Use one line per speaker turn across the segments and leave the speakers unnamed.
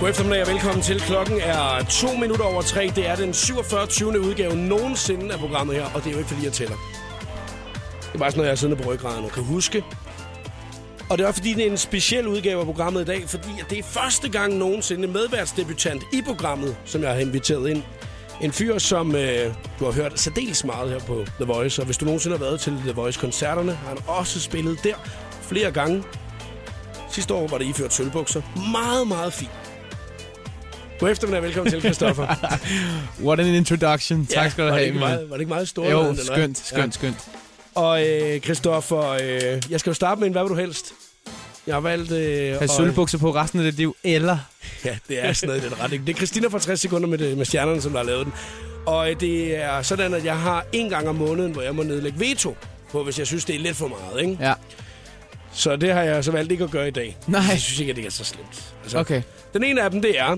God eftermiddag og velkommen til. Klokken er to minutter over tre. Det er den 47. 20. udgave nogensinde af programmet her, og det er jo ikke fordi, jeg tæller. Det er bare sådan noget, jeg siddende på ryggraden og kan huske. Og det er også fordi, det er en speciel udgave af programmet i dag, fordi at det er første gang nogensinde medværtsdebutant i programmet, som jeg har inviteret ind. En fyr, som øh, du har hørt særdeles meget her på The Voice, og hvis du nogensinde har været til The Voice-koncerterne, har han også spillet der flere gange. Sidste år var det iført sølvbukser. Meget, meget fint. God eftermiddag, velkommen til, Christoffer.
What an introduction. Tak skal du
var det
have,
ikke
mand.
meget, Var det ikke meget stort?
Jo, skønt, skønt, skønt.
Og øh, Christoffer, øh, jeg skal jo starte med en hvad vil du helst. Jeg har valgt... Øh,
Have
og-
sølvbukser på resten af dit liv, eller...
Ja, det er sådan noget i den retning. Det er Christina fra 60 sekunder med, det, med stjernerne, som der har lavet den. Og øh, det er sådan, at jeg har en gang om måneden, hvor jeg må nedlægge veto på, hvis jeg synes, det er lidt for meget. Ikke?
Ja,
Så det har jeg så valgt ikke at gøre i dag.
Nej.
Jeg synes ikke, at det er så slemt. Altså,
okay.
Den ene af dem, det er...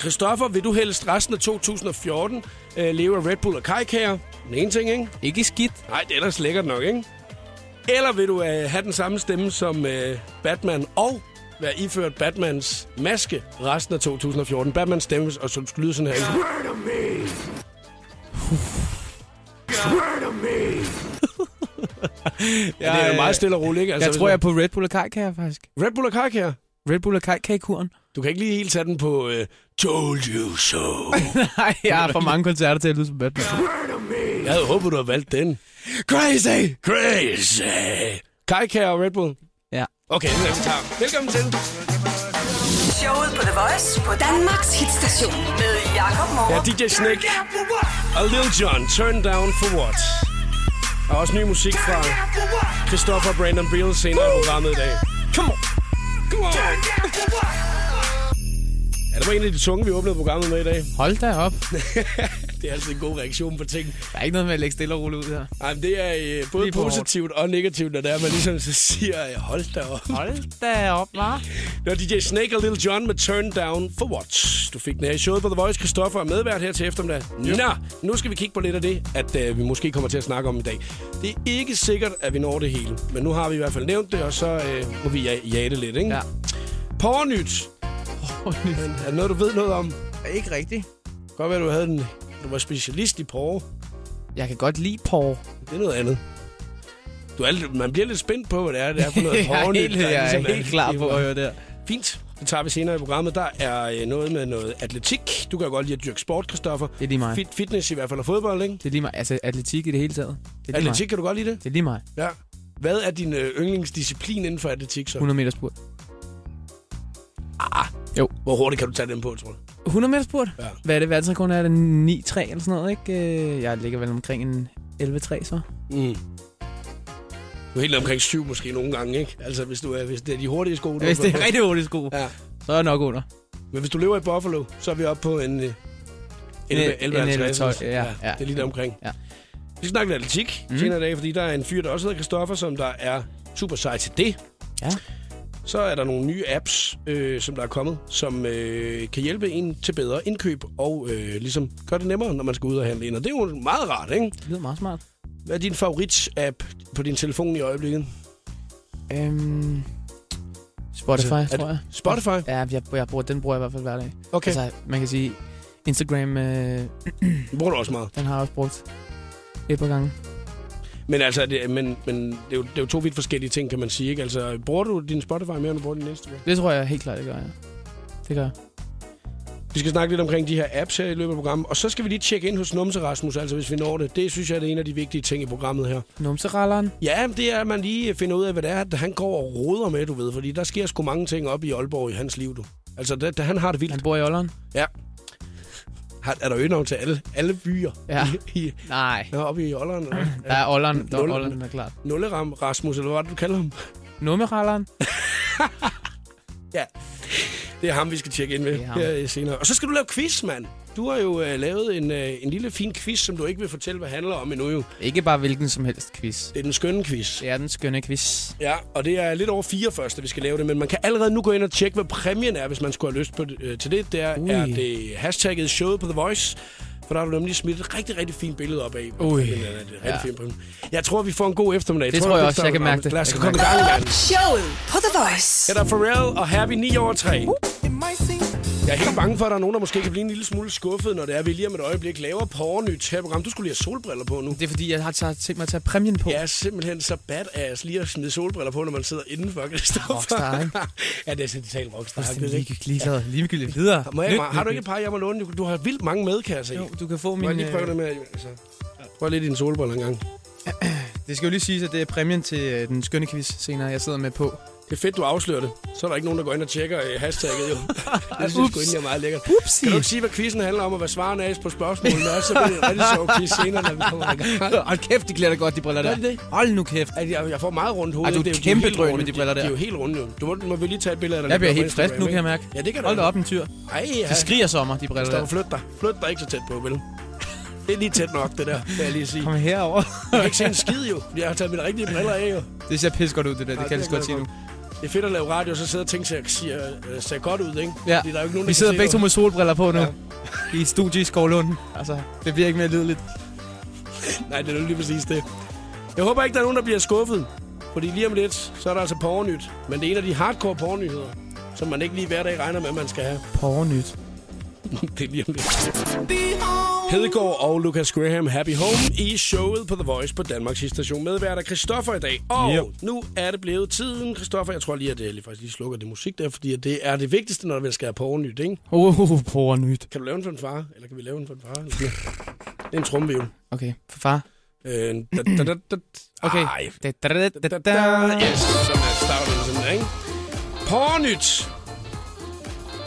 Christoffer, vil du helst resten af 2014 øh, leve af Red Bull og kajkager? Den ene ting, ikke?
Ikke skidt.
Nej, det er ellers lækkert nok, ikke? Eller vil du øh, have den samme stemme som øh, Batman og være iført Batmans maske resten af 2014? Batmans stemme, og som skal lyde sådan her. ikke? Ja, det er jo meget stille og roligt, ikke? Altså,
Jeg
hvis
tror, jeg
man-
er på Red Bull og kajkager, faktisk.
Red Bull og kajkager.
Red Bull og kajkagekuren.
Du kan ikke lige helt tage den på øh, Told You So.
Nej, jeg har for mange koncerter til at lyde som Batman.
Jeg havde håbet, du havde valgt den.
Crazy!
Crazy! Kajka og Red Bull.
Ja.
Okay, nu er vi klar. Velkommen til.
Showet på The Voice på Danmarks hitstation med Jakob
Ja,
Morup.
DJ Snake og Lil Jon, Turn Down for What. Og også ny musik fra Christopher og Brandon Beal senere i programmet i dag. Come on! Come on! Ja, det var en af de tunge, vi åbnede programmet med i dag.
Hold da op.
det er altid en god reaktion på ting.
Der er ikke noget med at lægge stille og roligt ud her.
Ej, men det er øh, både
Lige på hårdt.
positivt og negativt, når det er, man ligesom så siger, øh, hold da op.
Hold da op, hva'?
Det var DJ Snake og Little John med Turn Down for What. Du fik den her i showet på The Voice. Christoffer er medvært her til eftermiddag. Yep. Nå, nu skal vi kigge på lidt af det, at øh, vi måske kommer til at snakke om i dag. Det er ikke sikkert, at vi når det hele, men nu har vi i hvert fald nævnt det, og så øh, må vi ja- jage det lidt, ikke?
Ja.
Pornyt. Men Er det noget, du ved noget om?
ikke rigtigt.
Godt ved, at du havde den. Du var specialist i porre.
Jeg kan godt lide porre.
Det er noget andet. Du er, lidt- man bliver lidt spændt på, hvad det er, det er for noget
jeg er
pornyt.
helt,
der
jeg er
ligesom
helt klar på at høre det her.
Fint. Det tager vi senere i programmet. Der er øh, noget med noget atletik. Du kan jo godt lide at dyrke sport, Kristoffer.
Det er lige mig.
Fit, fitness i hvert fald og fodbold, ikke?
Det er lige mig. Altså, atletik i det hele taget. Det er lige
Atletik, kan du godt lide det?
Mig. Det er lige mig.
Ja. Hvad er din øh, yndlingsdisciplin inden for atletik så?
100 meter spurt.
Hvor hurtigt kan du tage den på, tror du?
100 meter spurt?
Ja.
Ja. Hvad er det? Verdensrekorden er det 9-3 eller sådan noget, ikke? Øh, Jeg ligger vel omkring en 11-3, så.
Mm. Du er helt omkring syv måske nogle gange, ikke? Altså, hvis, du er, hvis det er de hurtige sko, du
Hvis
har
det
på.
er rigtig hurtigt sko,
Ja.
så er jeg nok under.
Men hvis du lever i Buffalo, så er vi oppe på en... Øh, 11, 11,
en
11,
11, 12, ja,
ja,
ja.
Det er lige der omkring.
Ja.
Vi skal snakke lidt atletik mm.
Mm.
senere i dag, fordi der er en fyr, der også hedder Kristoffer, som der er super sej til det.
Ja.
Så er der nogle nye apps, øh, som der er kommet, som øh, kan hjælpe en til bedre indkøb og øh, ligesom gøre det nemmere, når man skal ud og handle ind. Og det er jo meget rart, ikke?
Det lyder meget smart.
Hvad er din favorit-app på din telefon i øjeblikket?
Øhm, Spotify,
Altså, er
altså, tror jeg.
Spotify?
Ja, jeg, jeg bruger, den bruger jeg i hvert fald hver dag.
Okay, altså,
Altså, man kan sige, Instagram, øh,
det bruger du også meget.
den har jeg også brugt et par gange.
Men altså, det, men, men det, er jo, det er jo to vidt forskellige ting, kan man sige, ikke? Altså, bruger du din Spotify mere, end du bruger din Instagram?
Det tror jeg helt klart, det gør jeg. Det gør jeg.
Vi skal snakke lidt omkring de her apps her i løbet af programmet, og så skal vi lige tjekke ind hos Numse Rasmus, altså hvis vi når det. Det synes jeg er en af de vigtige ting i programmet her.
Numseralleren.
Ja, det er, at man lige finder ud af, hvad det er, at han går og roder med, du ved, fordi der sker sgu mange ting op i Aalborg i hans liv, du. Altså, det, det, han har det
Han
vildt.
bor i Olleren.
Har, er der øgenavn til alle, alle byer
Ja.
i, i,
Nej.
nå, oppe i Aalborg?
Der er Olleren, der
Nul-
er Olleren, der er klart.
Nulleram Rasmus, eller hvad var det, du kalder ham?
Nummeralleren.
Det er ham, vi skal tjekke ind med
Det er ham.
her øh, senere. Og så skal du lave quiz, mand. Du har jo øh, lavet en, øh, en lille fin quiz, som du ikke vil fortælle, hvad handler om endnu. Jo.
Ikke bare hvilken som helst quiz.
Det er den skønne quiz.
Det er den skønne quiz.
Ja, og det er lidt over fire først, at vi skal lave det, men man kan allerede nu gå ind og tjekke, hvad præmien er, hvis man skulle have lyst på, det- øh, til det. Der
Ui.
er det hashtagget showet på The Voice, for der har du nemlig smidt et rigtig, rigtig fint billede op af. hvad
Ui.
præmien er. Det er et rigtig
Ja.
fint præmien. Jeg tror, vi får en god eftermiddag.
Det tror jeg også, jeg kan mærke det.
Lad os
Jeg kan
komme i gang, mand.
Showet på The Voice.
Her er der Pharrell og Happy 9 over 3.
It might seem
Jeg er helt bange for, at der er nogen, der måske kan blive en lille smule skuffet, når det er, vi lige om et øjeblik laver pornyt her program. Du skulle lige have solbriller på nu.
Det er fordi, jeg har taget, tænkt mig at tage præmien på.
Jeg er simpelthen så badass lige at smide solbriller på, når man sidder indenfor, Christoffer.
Rockstar, ikke?
ja, det er sådan totalt rockstar.
Fuldstændig
det er rigtigt.
ligegyldigt. Ligeglad. Ligegyldigt videre.
Må jeg,
Nyt,
har
nyt,
du ikke et
nyt.
par, jeg må låne? Du- Du har vildt mange med, kan jeg se.
Jo, du kan få
Må jeg
min...
lige prøve det
øh,
med? Altså. Prøv lige dine solbriller en gang.
det skal jo lige siges, at det er præmien til øh, den skønne quiz senere, jeg sidder med på.
Det er fedt, du afslører det. Så er der ikke nogen, der går ind og tjekker øh, hashtagget, jo. det synes jeg sgu
Ups.
egentlig er meget lækkert.
Upsi!
Kan du ikke sige, hvad quizzen handler om, og hvad svarene er på spørgsmålene er, så bliver det en rigtig sjov quiz senere, når vi kommer i gang.
Hold kæft, de glæder godt, de briller
Gør de det?
der. Hold nu kæft.
Altså, jeg, jeg får meget rundt hoved.
Ej, du er
Det jo- de
kæmpe
helt
drøn
runde.
med de briller
De,
der.
de er jo helt runde, jo. Du må, må vi lige tage et billede af dig.
Jeg bliver
på
helt frisk
Instagram,
nu,
ikke?
kan jeg mærke.
Ja, det kan du.
Hold da op en tyr.
Ej, ja.
De skriger sommer, de briller
Stop,
der.
flyt dig. Flyt dig ikke så tæt på, vel? Det er lige tæt nok, det der, vil jeg lige sige.
Kom herover.
Jeg kan ikke se en skid, jo. fordi Jeg har taget mine rigtige briller af, jo.
Det ser pis godt ud, det der. Det
Ej, det
kan jeg lige så godt
er
sige nu.
godt. Det er fedt at lave radio, og så sidde og tænke, at ser, øh, ser godt ud, ikke?
Ja.
Fordi der er jo ikke nogen,
Vi
der
sidder
kan
begge
se,
to med solbriller på nu.
Ja.
I et studie i Skovlund. Altså, det bliver ikke mere lideligt.
hvor- Nej, det er jo lige præcis det. Jeg håber ikke, der er nogen, der bliver skuffet. Fordi lige om lidt, så er der altså pornyt. Men det er en af de hardcore pornyheder, som man ikke lige hver dag regner med, at man skal have.
Pornyt.
det er lige om lidt. Hedegaard og Lucas Graham Happy Home i showet på The Voice på Danmarks station. Medvært er Christoffer i dag. Og
Yep.
nu er det blevet tiden, Christoffer. Jeg tror lige, at jeg lige faktisk lige slukker det musik der, fordi at det er det vigtigste, når vi skal have pornyt, ikke?
Oh, pornyt.
Kan du lave en for en far? Eller kan vi lave en for en far? Det er en trumvivl.
Okay, for far.
Øh, da, da, da, da.
Okay.
Ej,
Da, da, da, da,
da,
da.
da. Yes, sådan er starten sådan der, ikke? Pornyt!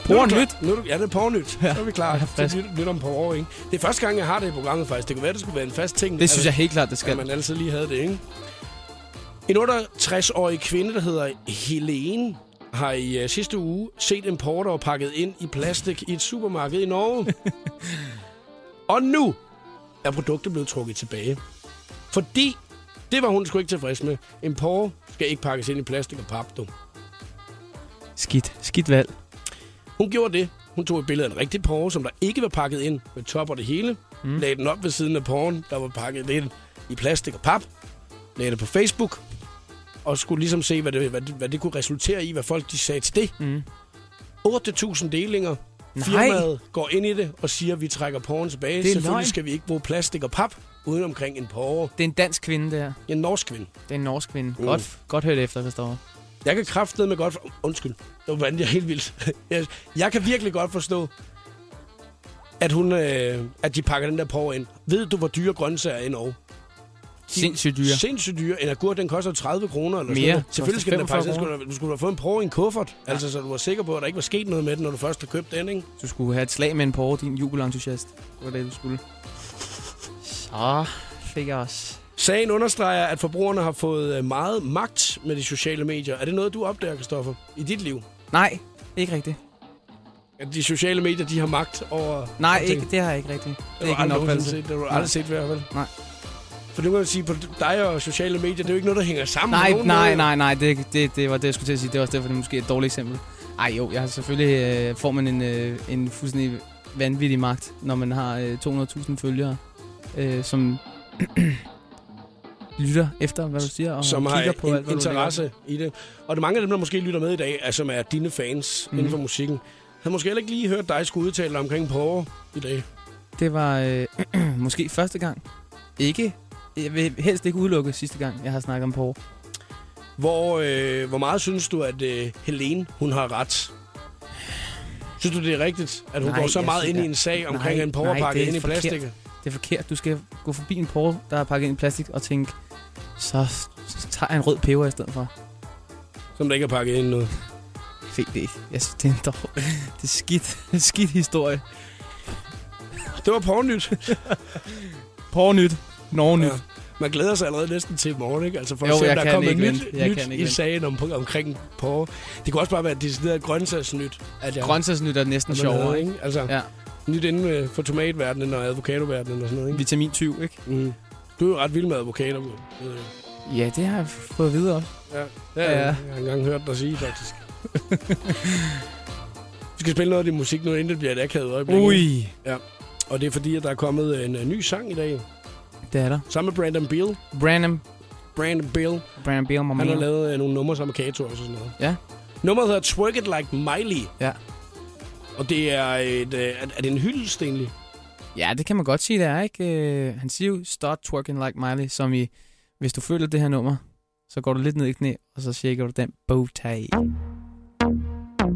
Nu er du
Pornyt.
klar. Nu er du, ja, det er pornyt. Ja. Så er vi klar
jeg er frisk.
til nyt, nyt om et par år, ikke? Det er første gang, jeg har det i programmet, faktisk. Det kunne være, det skulle være en fast ting. Altså,
Det synes jeg helt klart, det
At
skal.
man altid lige havde det, ikke? En 68-årig kvinde, der hedder Helene, har i øh, sidste uge set en porter pakket ind i plastik i et supermarked i Norge. og nu er produktet blevet trukket tilbage. Fordi det var hun sgu ikke tilfreds med. En porre skal ikke pakkes ind i plastik og pap, du.
Skidt. Skidt valg.
Hun gjorde det. Hun tog et billede af en rigtig porre, som der ikke var pakket ind med top og det hele. Mm. Lagde den op ved siden af porren, der var pakket ind i plastik og pap. Lagde det på Facebook. Og skulle ligesom se, hvad det, hvad det, hvad det kunne resultere i, hvad folk de sagde til det.
Mm.
8.000 delinger.
Nej.
Firmaet går ind i det og siger, at vi trækker porren tilbage.
Det er
Selvfølgelig
løgn.
skal vi ikke bruge plastik og pap uden omkring en porre.
Det er en dansk kvinde, det her.
En norsk kvinde.
Det er en norsk kvinde.
Uh.
Godt, godt hørt efter, Christoffer.
Jeg kan kraftede med godt... For... Undskyld. Det var jeg helt vildt. Jeg, jeg kan virkelig godt forstå, at, hun, øh, at de pakker den der på ind. Ved du, hvor dyre grøntsager er i Norge?
Sindssygt dyre.
Sindssygt dyre. En agurk, den koster 30 kroner eller
Mere.
sådan noget. Selvfølgelig skal den da
45
faktisk... Skulle, du- du skulle have fået en porre i en kuffert. Ja. Altså, så du var sikker på, at der ikke var sket noget med den, når du først har købt den, ikke?
Du skulle have et slag med en porre, din jubelentusiast. Det var det, du skulle. Så fik jeg også.
Sagen understreger, at forbrugerne har fået øh, meget magt med de sociale medier. Er det noget, du opdager, Kristoffer, i dit liv?
Nej, ikke rigtigt.
At de sociale medier, de har magt over...
Nej,
over ting?
ikke, det har jeg ikke rigtigt. Det
Det
er
har
ikke
du
min
aldrig nogensinde
opfattelse.
set. Det har du
Nej.
aldrig set før, vel?
Nej.
For nu kan man sige, på dig og sociale medier, det er jo ikke noget, der hænger sammen.
Nej,
på nogen
nej,
måde.
nej, nej. Det, det, det var det, jeg skulle til at sige. Det var også derfor, det er måske et dårligt eksempel. Ej jo, jeg har selvfølgelig øh, får man en, øh, en fuldstændig vanvittig magt, når man har øh, 200.000 følgere, øh, som lytter efter, hvad du siger, og
Som har
kigger
en
på alt, hvad
interesse i det. Og det er mange af dem, der måske lytter med i dag, altså, som er dine fans
Mhm.
mm. inden for musikken. Jeg havde måske heller ikke lige hørt dig skulle udtale dig omkring porre i dag.
Du lægger. Det var øh, måske første gang. Ikke. Jeg vil helst ikke udelukke sidste gang, jeg har snakket om porre.
Hvor, øh, hvor meget synes du, at øh, Helene, hun har ret? Synes du, det er rigtigt, at hun
Nej,
går så
jeg
meget
synes,
ind i
jeg-
en sag omkring
nej,
en
nej, det
porrepakke
er
ind i
forkert.
plastikket?
Det er forkert. Du skal gå forbi en porre, der er pakket ind i plastik, og tænke, så, så tager jeg en rød peber i stedet for.
Som der ikke er pakket ind i noget.
fik det ikke. Jeg synes, det er en dårlig... Det er skidt, en skidt historie.
Det var pornyt.
Pornyt. Nornyt.
Ja. Man glæder sig allerede næsten til i morgen, ikke? Altså for jo,
Jo,
at se, om
jeg
der er
kan
kommet
ikke
nyt,
vente. Jeg
nyt
kan ikke
i
vente.
sagen om, omkring porre. Det kunne også bare være decideret grøntsagsnyt. At jeg,
Ja. Grøntsagsnyt er næsten
at man
sjovere,
hedder,
ikke?
Altså, ja.
Ja.
nyt inden øh, for tomatverdenen og avocadoverdenen og sådan noget, ikke?
Vitamin 20, ikke?
Mm. Du er jo ret vild med avocado. ved jeg.
Ja, det har jeg fået at vide om.
Ja, det har
Ja.
jeg- jeg har engang hørt dig sige, faktisk. Vi skal spille noget af din musik nu, inden det bliver et akavet øjeblik.
Ui.
Og det er fordi, at der er kommet en, øh, ny sang i dag.
Det er der.
Sammen med Brandon Beal.
Brandon.
Brandon Beal.
Brandon Beal, mamma.
Han har lavet øh, nogle numre sammen med Kato og sådan noget.
Ja.
Nummeret hedder Twerk It Like Miley.
Ja.
Og det er et... Øh, er er det en hyldest egentlig?
Ja, det kan man godt sige, det er, ikke? Øh, han siger jo, start twerking like Miley, som i, hvis du føler det her nummer, så går du lidt ned i knæ, og så shaker du den bowtie.
Stop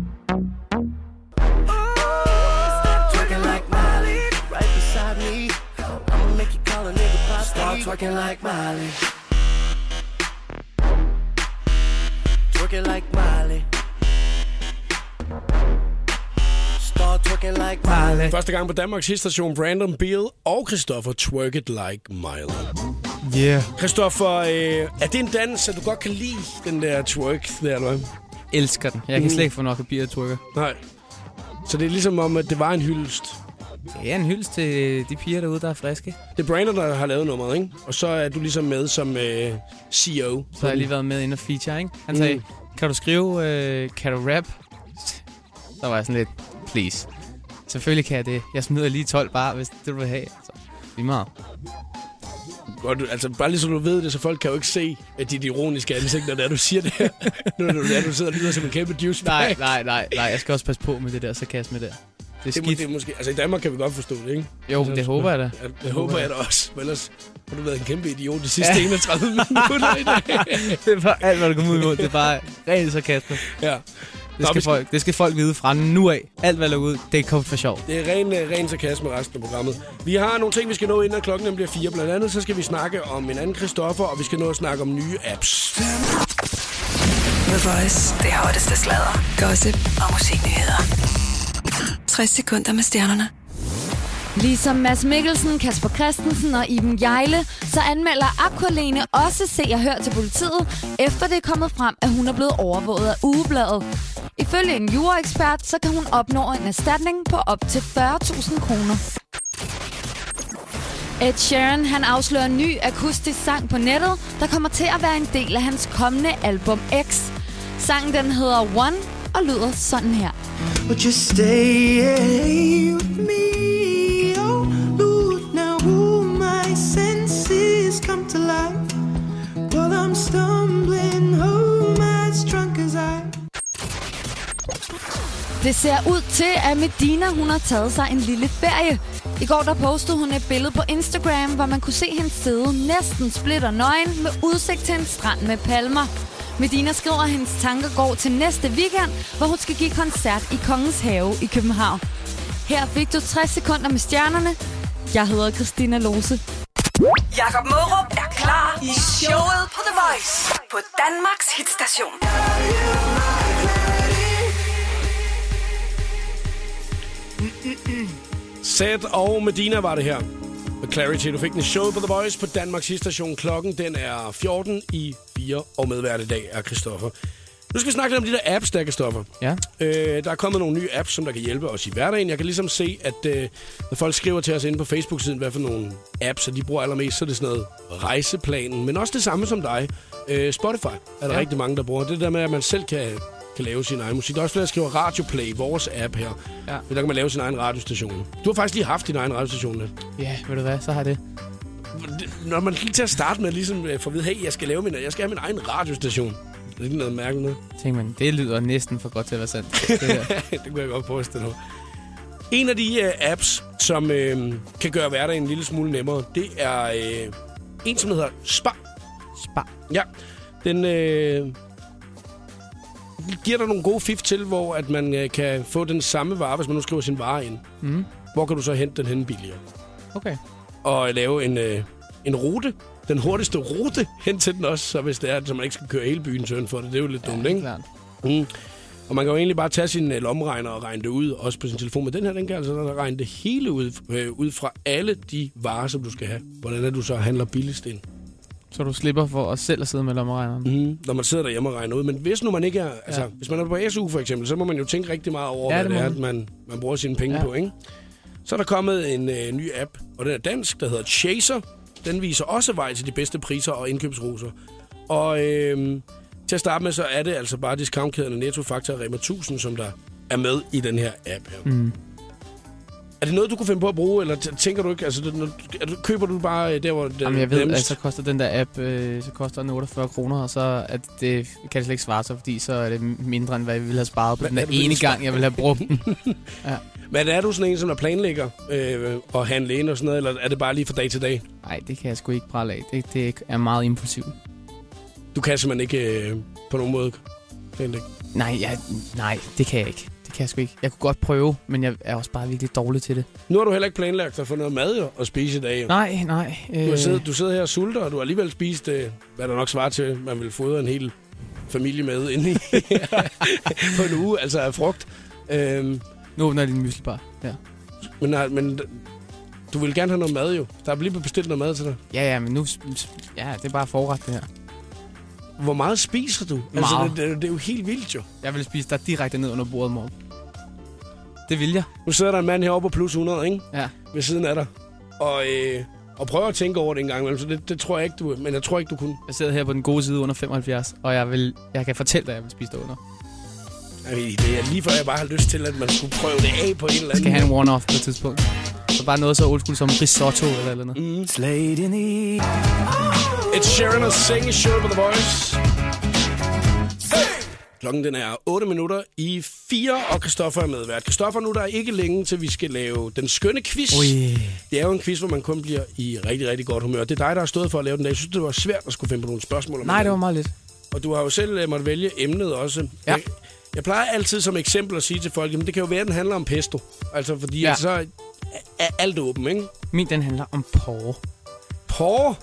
twerking like Miley, right beside me. I'ma make you call a nigga pop. Stop twerking like Miley. Twerking like Miley. Start twerking like Miley.
Første gang på Danmarks hitstation, Brandon Beal og Christoffer Twerk It Like Miley.
Yeah.
Christoffer, øh, er det en dans, at du godt kan lide, den der twerk der, eller hvad?
Elsker den. Jeg kan slet ikke få nok af bier og twerker.
Nej. Så det er ligesom om, at det var en hyldest.
Det er en hyldest til de piger derude, der er friske.
Det er Brandon, der har lavet nummeret, ikke? Og så er du ligesom med som øh, CEO.
Så har jeg lige været med ind og feature, ikke? Han sagde, kan du skrive, øh, kan du rap? Så var jeg sådan lidt, please. Selvfølgelig kan jeg det. Jeg smider lige 12 bar, hvis det du vil have. Så, lige meget.
Og du, altså, bare lige så du ved det, så folk kan jo ikke se at dit ironiske ansigt, når det er, du siger det her. Når du, er, du sidder og lyder som en kæmpe juice
Nej, nej, nej, nej. Jeg skal også passe på med det der sarkasme der. Det er
Det, må,
skidt.
det er måske, altså i Danmark kan vi godt forstå det, ikke?
Jo, det håber jeg da.
Jeg, jeg håber jeg da også, for ellers har du været en kæmpe idiot de sidste 31 minutter i dag.
Det er bare alt, hvad der kommer ud imod. Det er bare rent sarkasme.
Ja.
Det
Nå, vi
skal, folk, det skal folk vide fra nu af. Alt, hvad der er ud, det er kommet for sjov.
Det er ren, øh, ren sarkasme resten af programmet. Vi har nogle ting, vi skal nå, inden klokken den bliver fire. Blandt andet så skal vi snakke om en anden Christoffer, og vi skal nå at snakke om nye apps.
The Voice. Det hotteste sladder, gossip og musiknyheder. 60 sekunder med stjernerne.
Ligesom Mads Mikkelsen, Kasper Christensen og Iben Jejle, så anmelder Aqualene også Se og Hør til politiet, efter det er kommet frem, at hun er blevet overvåget af ugebladet. Ifølge en juraekspert, så kan hun opnå en erstatning på op til 40.000 kroner. Ed Sheeran han afslører en ny akustisk sang på nettet, der kommer til at være en del af hans kommende album X. Sangen den hedder One og lyder sådan her.
Would you stay with me? Oh, Lord, now all my senses come to life. While I'm stumbling home as drunk as I.
Det ser ud til, at Medina hun har taget sig en lille ferie. I går der postede hun et billede på Instagram, hvor man kunne se hende sidde næsten splitter nøgen med udsigt til en strand med palmer. Medina skriver, at hendes tanker går til næste weekend, hvor hun skal give koncert i Kongens Have i København. Her fik du 60 sekunder med stjernerne. Jeg hedder Christina Lose.
Jakob Mørup er klar i showet på The Voice på Danmarks hitstation.
Sæt og Medina var det her. Med Clarity, du fik den show på The Voice på Danmarks station. Klokken den er 14 i 4, og medvært i dag er Christoffer. Nu skal vi snakke lidt om de der apps, der, Christoffer.
Ja.
Øh, der er kommet nogle nye apps, som der kan hjælpe os i hverdagen. Jeg kan ligesom se, at øh, når folk skriver til os inde på Facebook-siden, hvad for nogle apps, at de bruger allermest, så er det sådan noget rejseplanen, men også det samme som dig. Øh, Spotify er der ja.
Ja.
rigtig mange, der bruger. Det der med, at man selv kan, kan lave sin egen musik. Der er også flere, der skriver Radioplay, vores app her.
Ja.
Ja. Der kan man lave sin egen radiostation. Du har faktisk lige haft din egen radiostation. lidt.
Ja, ved du hvad, så har jeg det.
Når man lige til at starte med ligesom øh, får at vide, hey, jeg skal, lave min, jeg skal have min egen radiostation. Det er ikke noget mærkeligt noget.
Tænk man, det lyder næsten for godt til at være sandt. Det der.
det kunne jeg godt forestille mig. En af de øh, apps, som øh, kan gøre hverdagen en lille smule nemmere, det er øh, en, som hedder Spar.
Spar.
Ja, den øh, giver dig nogle gode fif til, hvor at man øh, kan få den samme vare, hvis man nu skriver sin vare ind.
Mm.
Hvor kan du så hente den henne billigere?
Okay.
og lave en, øh, en rute. Den hurtigste rute hen til den også, så hvis det er, så man ikke skal køre hele byen søren for det. Det er jo lidt dumt, ikke?
Klart.
Mm. Og man kan jo egentlig bare tage sin øh, lomregner og regne det ud, også på sin telefon. Men den her, den kan altså regne det hele ud, øh, ud fra alle de varer, som du skal have. Hvordan er du så handler billigst ind?
Så du slipper for at selv at sidde med lommeregneren.
Mm. Når man sidder derhjemme og regner ud. Men hvis nu man ikke er... Altså, ja.
Mm-hmm. Ja.
hvis man er på SU for eksempel, så må man jo tænke rigtig meget over, ja,
Ja,
hvad
det
det
må
er,
man.
at man, man bruger sine penge ja.
Ja.
på, ikke? Så er der kommet en øh, ny app, og den er dansk, der hedder Chaser. Den viser også vej til de bedste priser og indkøbsruser. Og øh, til at starte med, så er det altså bare discountkæderne Netto, Fakta og Rema 1000, som der er med i den her app her. Mm. Er det noget, du kunne finde på at bruge, eller t- tænker du ikke? Altså, det, når- er du, køber du bare øh, der, hvor det
Jamen, jeg ved,
nemmest?
altså, så koster den der app, øh, så koster den 48 kroner, og så at det, kan det slet ikke svare sig, fordi så er det mindre, end hvad jeg ville have sparet på
Hvad
den
er
der
det, du
ene
ville spare?
gang, jeg ville have brugt den.
Men er du sådan en, som er planlægger øh, og handle ind og sådan noget, eller er det bare lige fra dag til dag?
Nej, det kan jeg sgu ikke prale af. Det, det er meget impulsivt.
Du kan simpelthen ikke øh, på nogen måde planlægge.
Nej, jeg, nej, det kan jeg ikke. Det kan jeg sgu ikke. Jeg kunne godt prøve, men jeg er også bare virkelig dårlig til det.
Nu har du heller ikke planlagt at få noget mad jo, at spise i dag. Jo.
Nej, nej. Øh,
Du, har siddet, du sidder her og sulter, og du har alligevel spist, øh, hvad der nok svarer til, man vil fodre en hel familie med inde i på en uge, altså af frugt. Øhm,
øh, Nu åbner jeg din myslebar. Ja.
men, nej, men du vil gerne have noget mad jo. Der er lige blevet bestilt noget mad til dig.
ja, ja, men nu... s- s- Ja, det er bare forret, det her.
Hvor meget spiser du?
Meget.
Altså, det, det, det er jo helt vildt jo.
Jeg vil spise dig direkte ned under bordet, mor. Det vil jeg.
Nu sidder der en mand heroppe på plus 100, ikke?
Ja.
Ved siden af dig. Og, øh, og prøver at tænke over det en gang imellem, så det, det tror jeg ikke, du... Men jeg tror ikke, du kunne.
Jeg sidder her på den gode side under 75, og jeg, vil, jeg kan fortælle dig, at jeg vil spise dig under.
Jeg ved, ikke, det er lige før, jeg bare har lyst til, at man skulle prøve det af på en eller
Jeg
anden
skal have en one-off på et tidspunkt. Så bare noget så old school som risotto eller eller andet. Mm.
It's late in the evening.
It's Sharon og Sing Show på The Voice. Klokken den er 8 minutter i 4, og Christoffer er medvært. Christoffer, nu er der ikke længe til, vi skal lave den skønne quiz.
Ui.
Det er jo en quiz, hvor man kun bliver i rigtig, rigtig godt humør. Det er dig, der har stået for at lave den dag. Jeg synes, det var svært at skulle finde på nogle spørgsmål. Om
Nej, det
hinanden.
var meget lidt.
Og du har jo selv øh, måttet vælge emnet også.
Ja.
Jeg, jeg plejer altid som eksempel at sige til folk, at det kan jo være, at den handler om pesto. Altså, fordi ja.
Ja.
altså, så er- er alt åbent, ikke?
Min, den handler om porre.
Porre.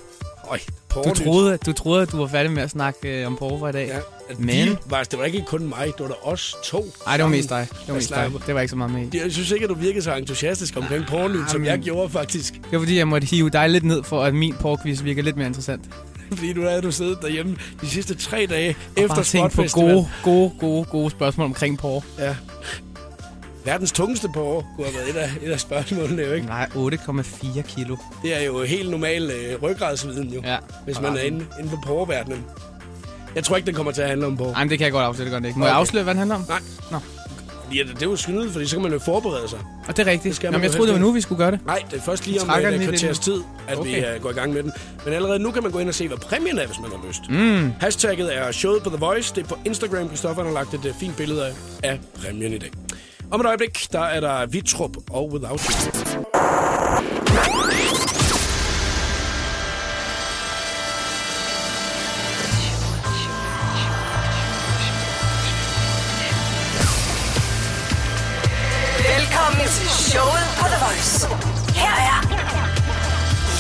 Øj, porre.
Du troede, du troede, at du var færdig med at snakke øh, om porre for i dag.
Ja, at
Men-
De, var, det var ikke kun mig, det var da os to.
Nej, det var
sammen,
mest dig. Det
der
var mest
slap.
dig. Det var ikke så meget med i.
Det- Jeg synes ikke, at du virkede så entusiastisk omkring pornlyd, som jeg gjorde faktisk.
Det var fordi, jeg måtte hive dig lidt ned, for at min porkvis virker lidt mere interessant.
Fordi nu havde du siddet derhjemme de sidste tre dage efter
Bare tænk på
Spotfestival.
gode, gode, gode, gode spørgsmål omkring porre.
Ja. Verdens tungeste porre kunne have været et af, et af spørgsmålene, jo, ikke?
Nej, 8,4 kilo.
Det er jo helt normal øh, ryggradsviden, jo.
Ja.
Hvis
Og
man er
resten.
inde, inde for porreverdenen. Jeg tror ikke, den kommer til at handle om porre.
Ej, men det kan jeg godt afsløre, det godt ikke. Må jeg
Okay.
afsløre, hvad den handler om?
Nej.
Nå.
Ja, det det er jo snyde, fordi så kan man jo forberede sig.
Og det er rigtigt.
Det skal
Nå,
man
men jeg
jo
troede, det
helst
var nu, vi skulle gøre det.
Nej, det er først lige om
Trækker
et
den
øh,
lidt
kvarters tid, at okay. vi
Okay.
øh, går i gang med den. Men allerede nu kan man gå ind og se, hvad præmien er, hvis man har lyst. Mm. Hashtagget er showet på The Voice. Det er på Instagram, Christoffer han har lagt et øh, fint billede af, af præmien i dag. Om et øjeblik, der er der Vitrup og Without You.
Velkommen til showet på The Voice. Her er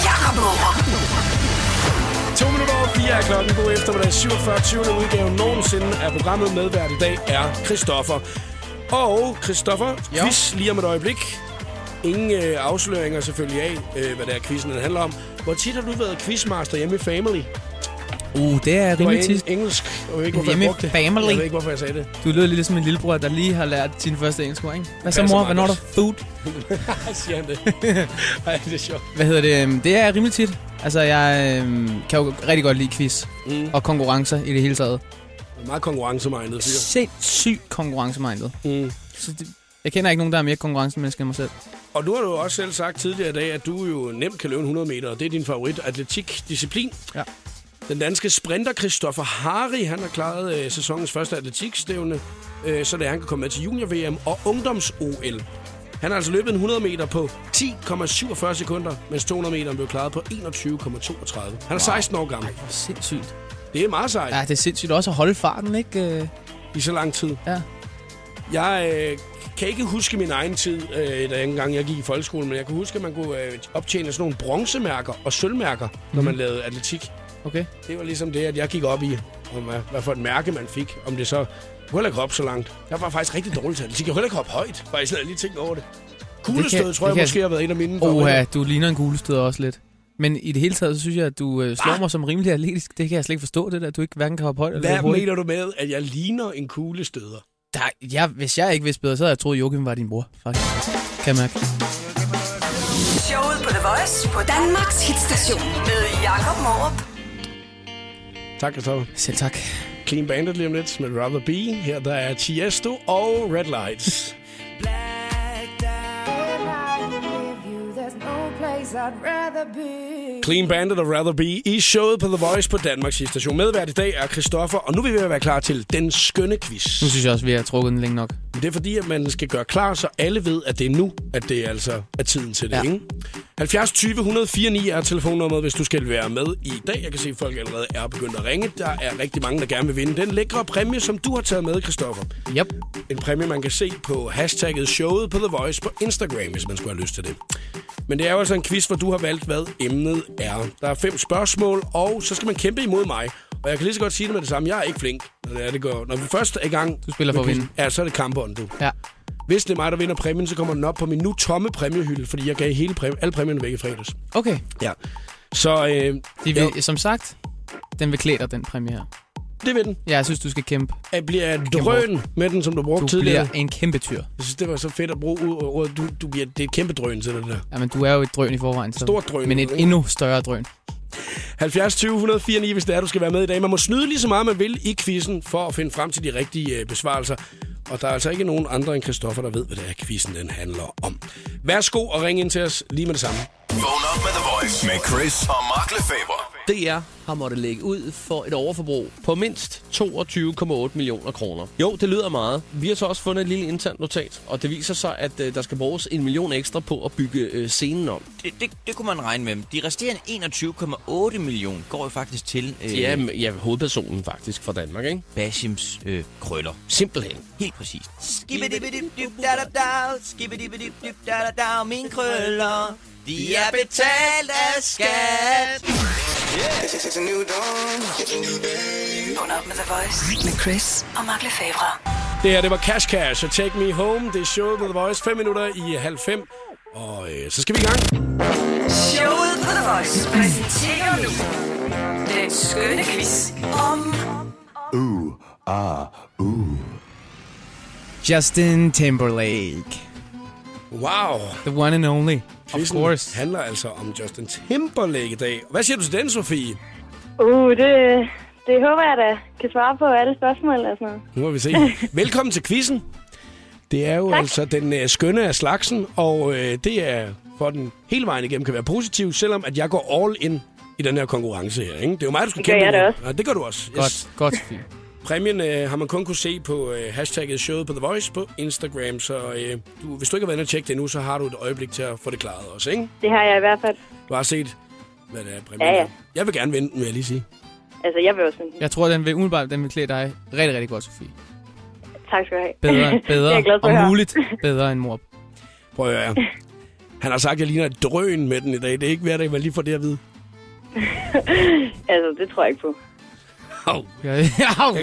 Jakob Morup.
To minutter over fire er klokken. God eftermiddag. 47. udgave nogensinde af programmet medvært i dag er Christoffer. Og Christoffer,
Ja.
quiz lige om et øjeblik. Ingen øh, afsløringer selvfølgelig af, øh, hvad det er, quizzen den handler om. Hvor tit har du været quizmaster hjemme i Family?
Uh, det er
Det var
rimelig
eng-
tit.
engelsk. Jeg ved ikke, hvorfor
Hjemme
jeg
i
brugte det.
Family.
Jeg ved ikke, hvorfor jeg sagde det.
Du lyder lidt som min lillebror, der lige har lært sin første engelsk ord, ikke? Hvad så,
passer
mor?
meget
Hvornår er der
godt.
food?
Siger han det? Ej, det er sjovt.
Hvad hedder det? øhm, Det er rimelig tit. Altså, jeg øhm, kan jo rigtig godt lide quiz
Mm.
og konkurrencer i det hele taget.
Meget konkurrencemindet, fyr.
Sindssygt konkurrencemindet.
Mm.
Så det, jeg kender ikke nogen, der er mere konkurrencemenneske end mig selv.
Og nu har du jo også selv sagt tidligere i dag, at du jo nemt kan løbe en 100 meter, og det er din favorit atletikdisciplin.
Ja.
Den danske sprinter Christoffer Hari, han har klaret øh, sæsonens første atletikstævne, øh, så det er, han kan komme med til junior-VM og ungdoms-OL. Han har altså løbet en 100 meter på 10,47 sekunder, mens 200 meter blev klaret på 21,32. Han er 16 år gammel.
Hvor sindssygt.
Det er meget sejt
Ja, det er sindssygt også at holde farten, ikke? Øh,
i så lang tid.
Ja.
Jeg øh, kan ikke huske min egen tid, øh, da jeg engang jeg gik i folkeskolen, men jeg kan huske, at man kunne øh, optjene sådan nogle bronzemærker og sølvmærker, mm. når
Mhm.
man lavede atletik.
Okay.
Det var ligesom det, at jeg gik op i, om hvad, hvad for et mærke man fik, om det så... Jeg kunne heller ikke hoppe så langt. Jeg var faktisk rigtig dårlig til atletik. Jeg kunne heller ikke hoppe højt, faktisk. Jeg havde lige tænkt over det. Kuglestød,
det
tror jeg
kan-
måske har været en af mine. favoritter.
Oha, du ligner en kuglestøder også lidt. Men i det hele taget, så synes jeg, at du øh, slår mig som rimelig atletisk. Det kan jeg slet ikke forstå, det der. Du ikke hverken kan hoppe højt eller
Hvad
løbe hurtigt.
mener du med, at jeg ligner en kuglestøder?
Der, jeg, hvis jeg ikke vidste bedre, så havde jeg troet, at Joachim var din bror, faktisk. Kan jeg mærke.
Showet på The Voice på Danmarks hitstation med Jakob Morup.
Tak, Christoffer.
Selv tak.
Clean Bandit lige om lidt med Rather Be. Her der er Tiesto og Red Lights.
Blacked out. I'd rather be.
Clean Bandit og Rather Be i showet på The Voice på Danmarks station. Medvært i dag er Christoffer, og nu er vi ved at være klar til den skønne quiz.
Nu synes jeg også, vi har trukket den længe nok.
Men Det er fordi, at man skal gøre klar, så alle ved, at det er nu, at det altså er tiden til det, ja.
Ja.
ikke? 70 20 104 9 er telefonnummeret, hvis du skal være med i dag. Jeg kan se, at folk allerede er begyndt at ringe. Der er rigtig mange, der gerne vil vinde den lækre præmie, som du har taget med, Christoffer.
Yep.
En præmie, man kan se på hashtagget showet på The Voice på Instagram, hvis man skulle have lyst til det. Men det er jo altså en quiz, hvor du har valgt, hvad emnet er. Der er fem spørgsmål, og så skal man kæmpe imod mig. Og jeg kan lige så godt sige det med det samme. Jeg er ikke flink, når det, er, det går. Når vi først er i gang...
Du spiller for at vinde.
Ja, så er det kampbånd, du.
Ja.
Hvis det er mig, der vinder præmien, så kommer den op på min nu tomme præmiehylde, fordi jeg gav hele præmien, alle præmierne væk i fredags.
Okay.
Ja. Så øh,
De
Jo.
vil, som sagt, den vil klæde dig, den præmie her.
det ved den.
Ja, jeg synes, du skal kæmpe.
Jeg bliver drøn med den, som du brugte
Du
tidligere.
bliver en kæmpe tyr.
Jeg synes, det var så fedt at bruge u- ordet. Du, du bliver, det er et kæmpe drøn til det der.
Jamen, du er jo et drøn i forvejen. Så.
Stort drøn.
Men et endnu større drøn.
70 20 104 9, hvis det er, du skal være med i dag. Man må snyde lige så meget, man vil i quizzen, for at finde frem til de rigtige øh, besvarelser. Og der er altså ikke nogen andre end Christoffer, der ved, hvad det er, quizzen den handler om. Værsgo og ring ind til os lige med det samme.
Vågn op med The Voice med Chris og Mark Lefebvre.
DR har måttet lægge ud for et overforbrug på mindst 22,8 millioner kroner. Jo, det lyder meget. Vi har så også fundet et lille internt notat, og det viser sig, at øh, der skal bruges en million ekstra på at bygge øh, scenen om.
Det, det, det kunne man regne med. De resterende 21,8 millioner går jo faktisk til øh,
Ja, m- ja hovedpersonen faktisk fra Danmark, ikke?
Bashims øh, krøller.
Simpelthen.
Helt præcist. Skibidibidibdibdadabdag, skibidibidibdibdadabdag, mine krøller, de er betalt af skat.
Vågn op med The Voice. Med Chris og Mark Lefebvre.
Det her, det var Cash Cash og Take Me Home. Det er showet på The Voice. 5 minutter i halv fem. Og øh, så skal vi i gang.
Showet på The Voice præsenterer nu den skønne quiz om...
Uh, ah,
Justin Timberlake.
Wow.
The one and only. Of
Quizzen
course.
handler altså om Justin Timberlake i dag. Hvad siger du til den, Sofie?
Uh, det, det håber jeg da kan svare på alle spørgsmål eller sådan noget.
Nu må vi se. Velkommen til quizzen. Det er jo tak. altså den øh, skønne af slagsen, og øh, det er for den hele vejen igennem kan være positiv, selvom at jeg går all in i den her konkurrence her. Ikke? Det er jo mig, du skal
Det gør
kæmpe
jeg da
imod.
også.
Ja, det gør du også. Yes.
Godt, godt, Sofie.
Præmien øh, har man kun kunne se på øh, hashtagget showet på The Voice på Instagram, så øh, du, hvis du ikke har været inde og tjekke det endnu, så har du et øjeblik til at få det klaret også, ikke?
Det har jeg i hvert fald.
Du har set, hvad det er, præmien
Ja, ja.
er. Jeg vil gerne vinde den, vil jeg lige sige.
Altså, jeg vil også vinde.
Jeg tror, den vil umiddelbart den vil klæde dig rigtig, rigtig godt, Sofie.
Tak skal du have.
Bedre,
det er jeg glad
bedre
for at høre.
og muligt bedre end mor.
Prøv at høre. Han har sagt, at jeg ligner et drøn med den i dag. Det er ikke hver dag, man lige får det at vide.
Altså, det tror jeg ikke på.
Oh.
Ja,
Jeg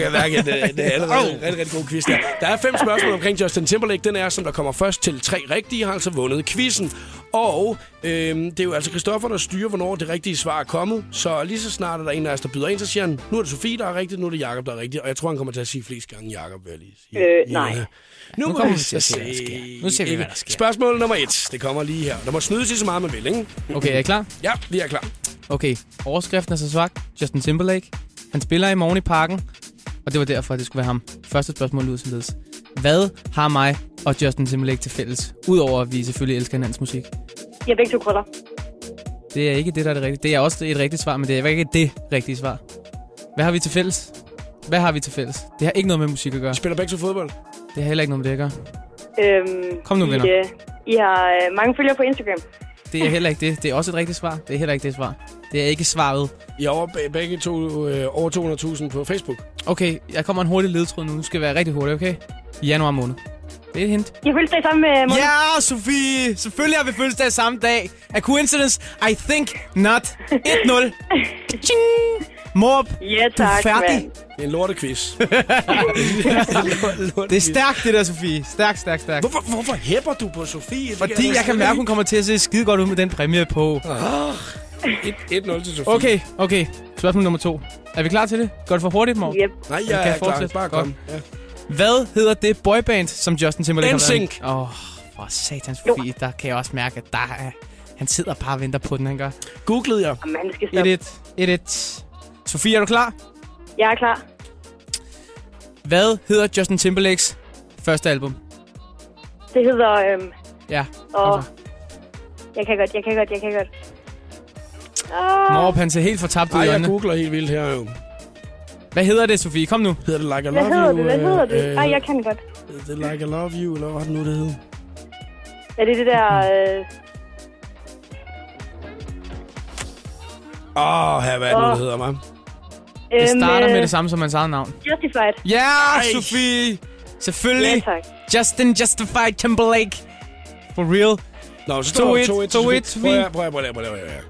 kan mærke, at det, det er allerede en rigtig, rigtig god quiz. Der. der er fem spørgsmål omkring Justin Timberlake. Den er, som der kommer først til tre rigtige, har altså vundet quizzen. Og øhm, det er jo altså Christoffer, der styrer, hvornår det rigtige svar er kommet. Så lige så snart er der en af os, der byder ind, så siger han, nu er det Sofie, der er rigtigt, nu er det Jakob der er rigtigt. Og jeg tror, han kommer til at sige flest gange Jakob, vil jeg lige sige.
Øh, nej.
Nu, nu
kommer
kommer vi
vi til
så
at
se.
se, hvad der sker. Nu ser vi,
Ikke?
hvad der sker.
Spørgsmål nummer et. Det kommer lige her. Der må snydes lige så meget, man vil, ikke?
Okay, er I klar?
Ja, vi er klar.
Okay, overskriften er så svag. Justin Timberlake. Han spiller i morgen i parken, og det var derfor, at det skulle være ham. Første spørgsmål lyder således. Hvad har mig og Justin Timberlake til fælles? Udover at vi selvfølgelig elsker hinandens musik.
Jeg er begge to krøller.
Det er ikke det, der er det rigtige. Det er også et rigtigt svar, men det er ikke det rigtige svar. Hvad har vi til fælles? Hvad har vi til fælles? Det har ikke noget med musik at gøre.
Spiller begge to fodbold?
Det har heller ikke noget med det at gøre.
Øhm,
Kom nu, venner.
I, øh, I har øh, mange følgere på Instagram.
Det er heller ikke det. Det er også et rigtigt svar. Det er heller ikke det svar. Det er ikke svaret.
I er over, begge to øh, over 200.000 på Facebook.
Okay, jeg kommer en hurtig ledtråd nu. Nu skal jeg være rigtig hurtig, okay? I januar måned. Det er et hint.
Jeg følte dig sammen med Mon-
Ja, Sofie! Selvfølgelig har vi fødselsdag samme dag. A coincidence? I think not. 1-0. Ching! Morb,
ja
du er
tak,
færdig.
mand.
Det er en lortequiz.
Det er stærkt, det der, Sofie. Stærkt, stærkt, stærkt.
Hvorfor, hvorfor hæpper du på Sofie? Det
Fordi jeg kan mærke, hun kommer til at se skide godt ud med den præmie på.
kommer... 1-0 til Sofie.
Okay, okay. Spørgsmål nummer to. Er vi klar til det? Går det for hurtigt, Morb?
Yep.
Nej,
kan
jeg
jeg
er klar.
fortsætte?
Bare
Godt.
kom. Ja.
Hvad hedder det boyband, som Justin Timberlake
NSYNC.
har været i? Åh, oh, for satans Sofie. Der kan jeg også mærke, at der er... Han sidder bare og venter på den, han gør.
Googlede jeg.
Jamen, han skal stoppe.
1-1. 1-1. Sofie, er du klar?
Jeg er klar.
Hvad hedder Justin Timberlakes første album?
Det hedder... Øhm,
Ja. Altså,
og,
Okay.
Jeg kan godt, jeg kan godt, jeg kan godt. Åh,
Morpan ser helt fortabt ud
Ej,
i
jeg
øjnene.
googler helt vildt her jo.
Hvad hedder det, Sofie? Kom nu.
Hedder det Like I
hvad
Love
hedder
You?
du? Hvad
øh,
hedder du?
øh,
Ej, jeg kan godt.
hedder det Like I Love You, eller hvad var det nu, det hed?
Er det det der... Øh,
Åh, her, hvad er det nu, det
Åh.
hedder, mig?
Det
øhm,
starter med
øh,
det samme som hans eget navn.
Justified.
Ja, yeah, Sofie!
Ja,
Selvfølgelig.
tak.
Justin Justified Timberlake. For real.
Nå, så
To
står der
et,
2-1.
to et,
Prøv at høre, prøv at høre, prøv at høre, prøv at høre, prøv at høre.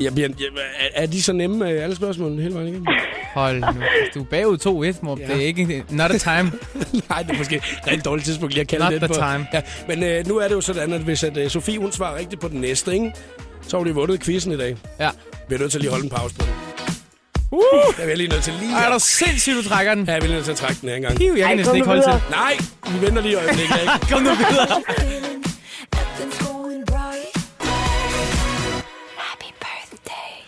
Jeg bliver, jeg, er- er de så nemme, øh, alle spørgsmålene, hele vejen igennem?
Hold nu. Du er bagud 2-1, Morp.
Ja.
Det er ikke... Not a time.
Nej, det er måske et rigtig dårligt tidspunkt lige at kalde
Not
det
the
på.
time.
Ja, men øh, nu er det jo sådan, at hvis at, øh, Sofie hun svarer rigtigt på den næste, ikke? så har hun jo vundet quizzen i dag.
Ja.
Vi er nødt til lige at holde en pause på det.
Uh!
Jeg er lige nødt til lige
Ej,
at...
er du sindssygt, du trækker den.
Ja, jeg er nødt til at trække den her engang.
Hiv, jeg kan
Ej,
næsten
kom
ikke
nu
holde til.
videre.
Nej, vi venter lige et øjeblik. Ikke?
Kom nu videre.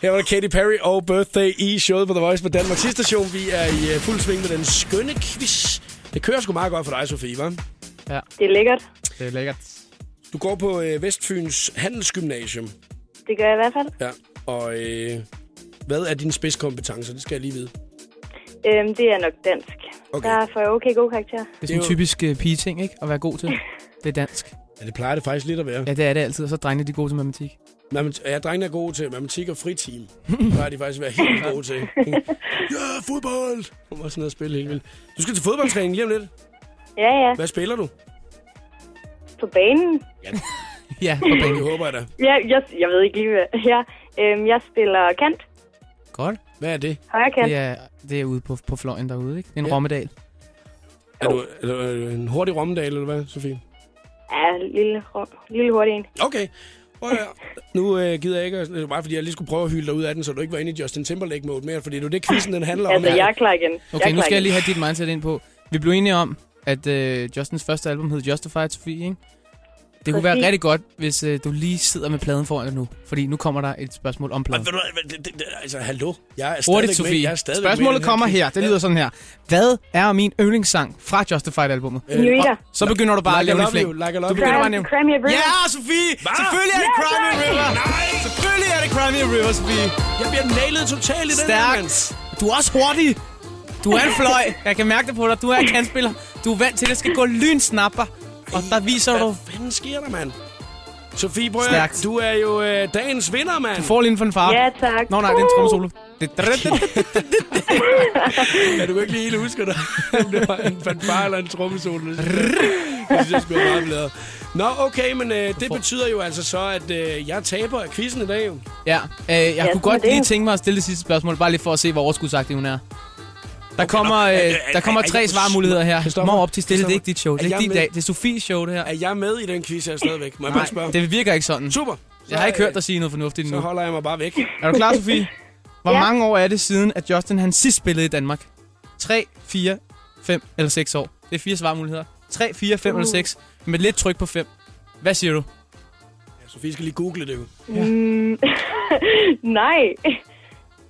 Her var der Katy Perry og Birthday i showet på The Voice på Danmarks station. Vi er i øh, fuld sving med den skønne quiz. Det kører sgu meget godt for dig, Sofie, hva'?
Det er lækkert.
Det er lækkert.
Du går på øh, Vestfyns Handelsgymnasium.
Det gør jeg i hvert fald.
Ja. Og øh, hvad er dine spidskompetencer? Det skal jeg lige vide.
Øhm, det er nok dansk.
Okay.
Der får jeg okay god karakter.
Det er sådan en typisk uh, pigeting, ikke? At være god til. Det er dansk.
Ja, det plejer det faktisk lidt at være.
Ja, det er det altid. Og så er drengene, de er gode til matematik.
Mathemat- ja, drengene er gode til matematik og fritime. Der har de faktisk været helt gode til. ja, fodbold! Hun var sådan noget at spille helt vildt. Du skal til fodboldtræning lige om lidt.
Ja, ja.
Hvad spiller du?
På banen.
Ja, på banen.
Det håber jeg da.
Ja, jeg, jeg ved ikke lige, hvad... Ja, øhm, jeg spiller kant.
Godt.
Hvad er det?
Højre kant.
Det er, det er ude på, på fløjen derude, ikke? Det er en
Ja.
ja. Rommedal.
Er du, er du øh, en hurtig rommedal, eller hvad, Sofie?
Ja, lille, ru- lille hurtig en.
Okay. Prøv at høre. Nu øh, gider jeg ikke, at- det var bare fordi jeg lige skulle prøve at hylde dig ud af den, så du ikke var inde i Justin Timberlake-mode mere, fordi det er jo det, quizzen den handler om.
Altså, jeg er klar igen.
Okay,
er
nu
klar
skal jeg
igen.
lige have dit mindset ind på. Vi blev enige om, at øh, Justins første album hed Justified, Sofie, ikke? Det kunne være
Præcis.
rigtig godt, hvis øh, du lige sidder med pladen foran dig nu. Fordi nu kommer der et spørgsmål om
Og
pladen.
ved du hvad, det, det, det, altså, hallo? Jeg er
Hurtigt,
stadigvæk med.
Sofie.
Jeg er stadigvæk med i
Spørgsmålet
den her
kommer
quiz.
her. Det lyder sådan her. Hvad er min yndlingssang fra Justified-albummet?
New Eater.
Så begynder du bare
Øh,
at
Like I
lave
love you,
en flæng.
like I love
Du
you.
begynder bare at nævne.
Cram your brain.
Ja, Sofie!
Hva?
Selvfølgelig er det
Ja,
Crimey
tak!
River!
Nej!
Selvfølgelig er det Crimey River, Sofie!
Jeg bliver nailet totalt i den her, mand.
Stærkt. Du er også hurtig. Du er en fløj. Jeg kan mærke det på dig. Du er en kantspiller. Du er vant til, at det skal gå lynsnapper. Og der viser du...
Hvad fanden sker der, mand? Sofie Brøger,
Stærkt.
du er jo øh, dagens vinder, mand.
Du får lige for en far.
Ja, tak.
Nå nej, det er en trommesolo. Det-
Ja, du kan ikke lige helt huske dig, om det var en fanfare eller en trommesolo. Det synes jeg sgu er meget bedre. Nå, okay, men øh, det betyder jo altså så, at øh, jeg taber af quizzen i dag. Jo.
Ja, øh, jeg
Ja,
kunne godt
sådan er det.
lige tænke mig at stille det sidste spørgsmål, bare lige for at se, hvor overskudsagtig hun er. Der kommer,
nå.
øh,
Er- er-
der kommer
er- er-
tre
er-
svarmuligheder her.
Christoffer?
Må op til stille, det er
Christoffer?
ikke dit show. Det
Er
er ikke
jeg
din
med?
dag. Det er Sofies show, det her.
Er jeg med i den quiz her stadigvæk? Må jeg bare spørge?
Nej, det Mm. virker ikke sådan.
Super. Så,
Jeg har ikke
øh,
hørt dig sige noget fornuftigt
Så
endnu.
holder jeg mig bare væk.
Er du klar, Sofie? Hvor
Ja.
ja. mange år er det siden, at Justin han sidst spillede i Danmark? 3, 4, 5 eller 6 år. Det er fire svarmuligheder. 3, 4, 5 uh. eller 6. Med lidt tryk på 5. Hvad siger du?
Ja, Sofie skal lige google det jo.
Mm, nej.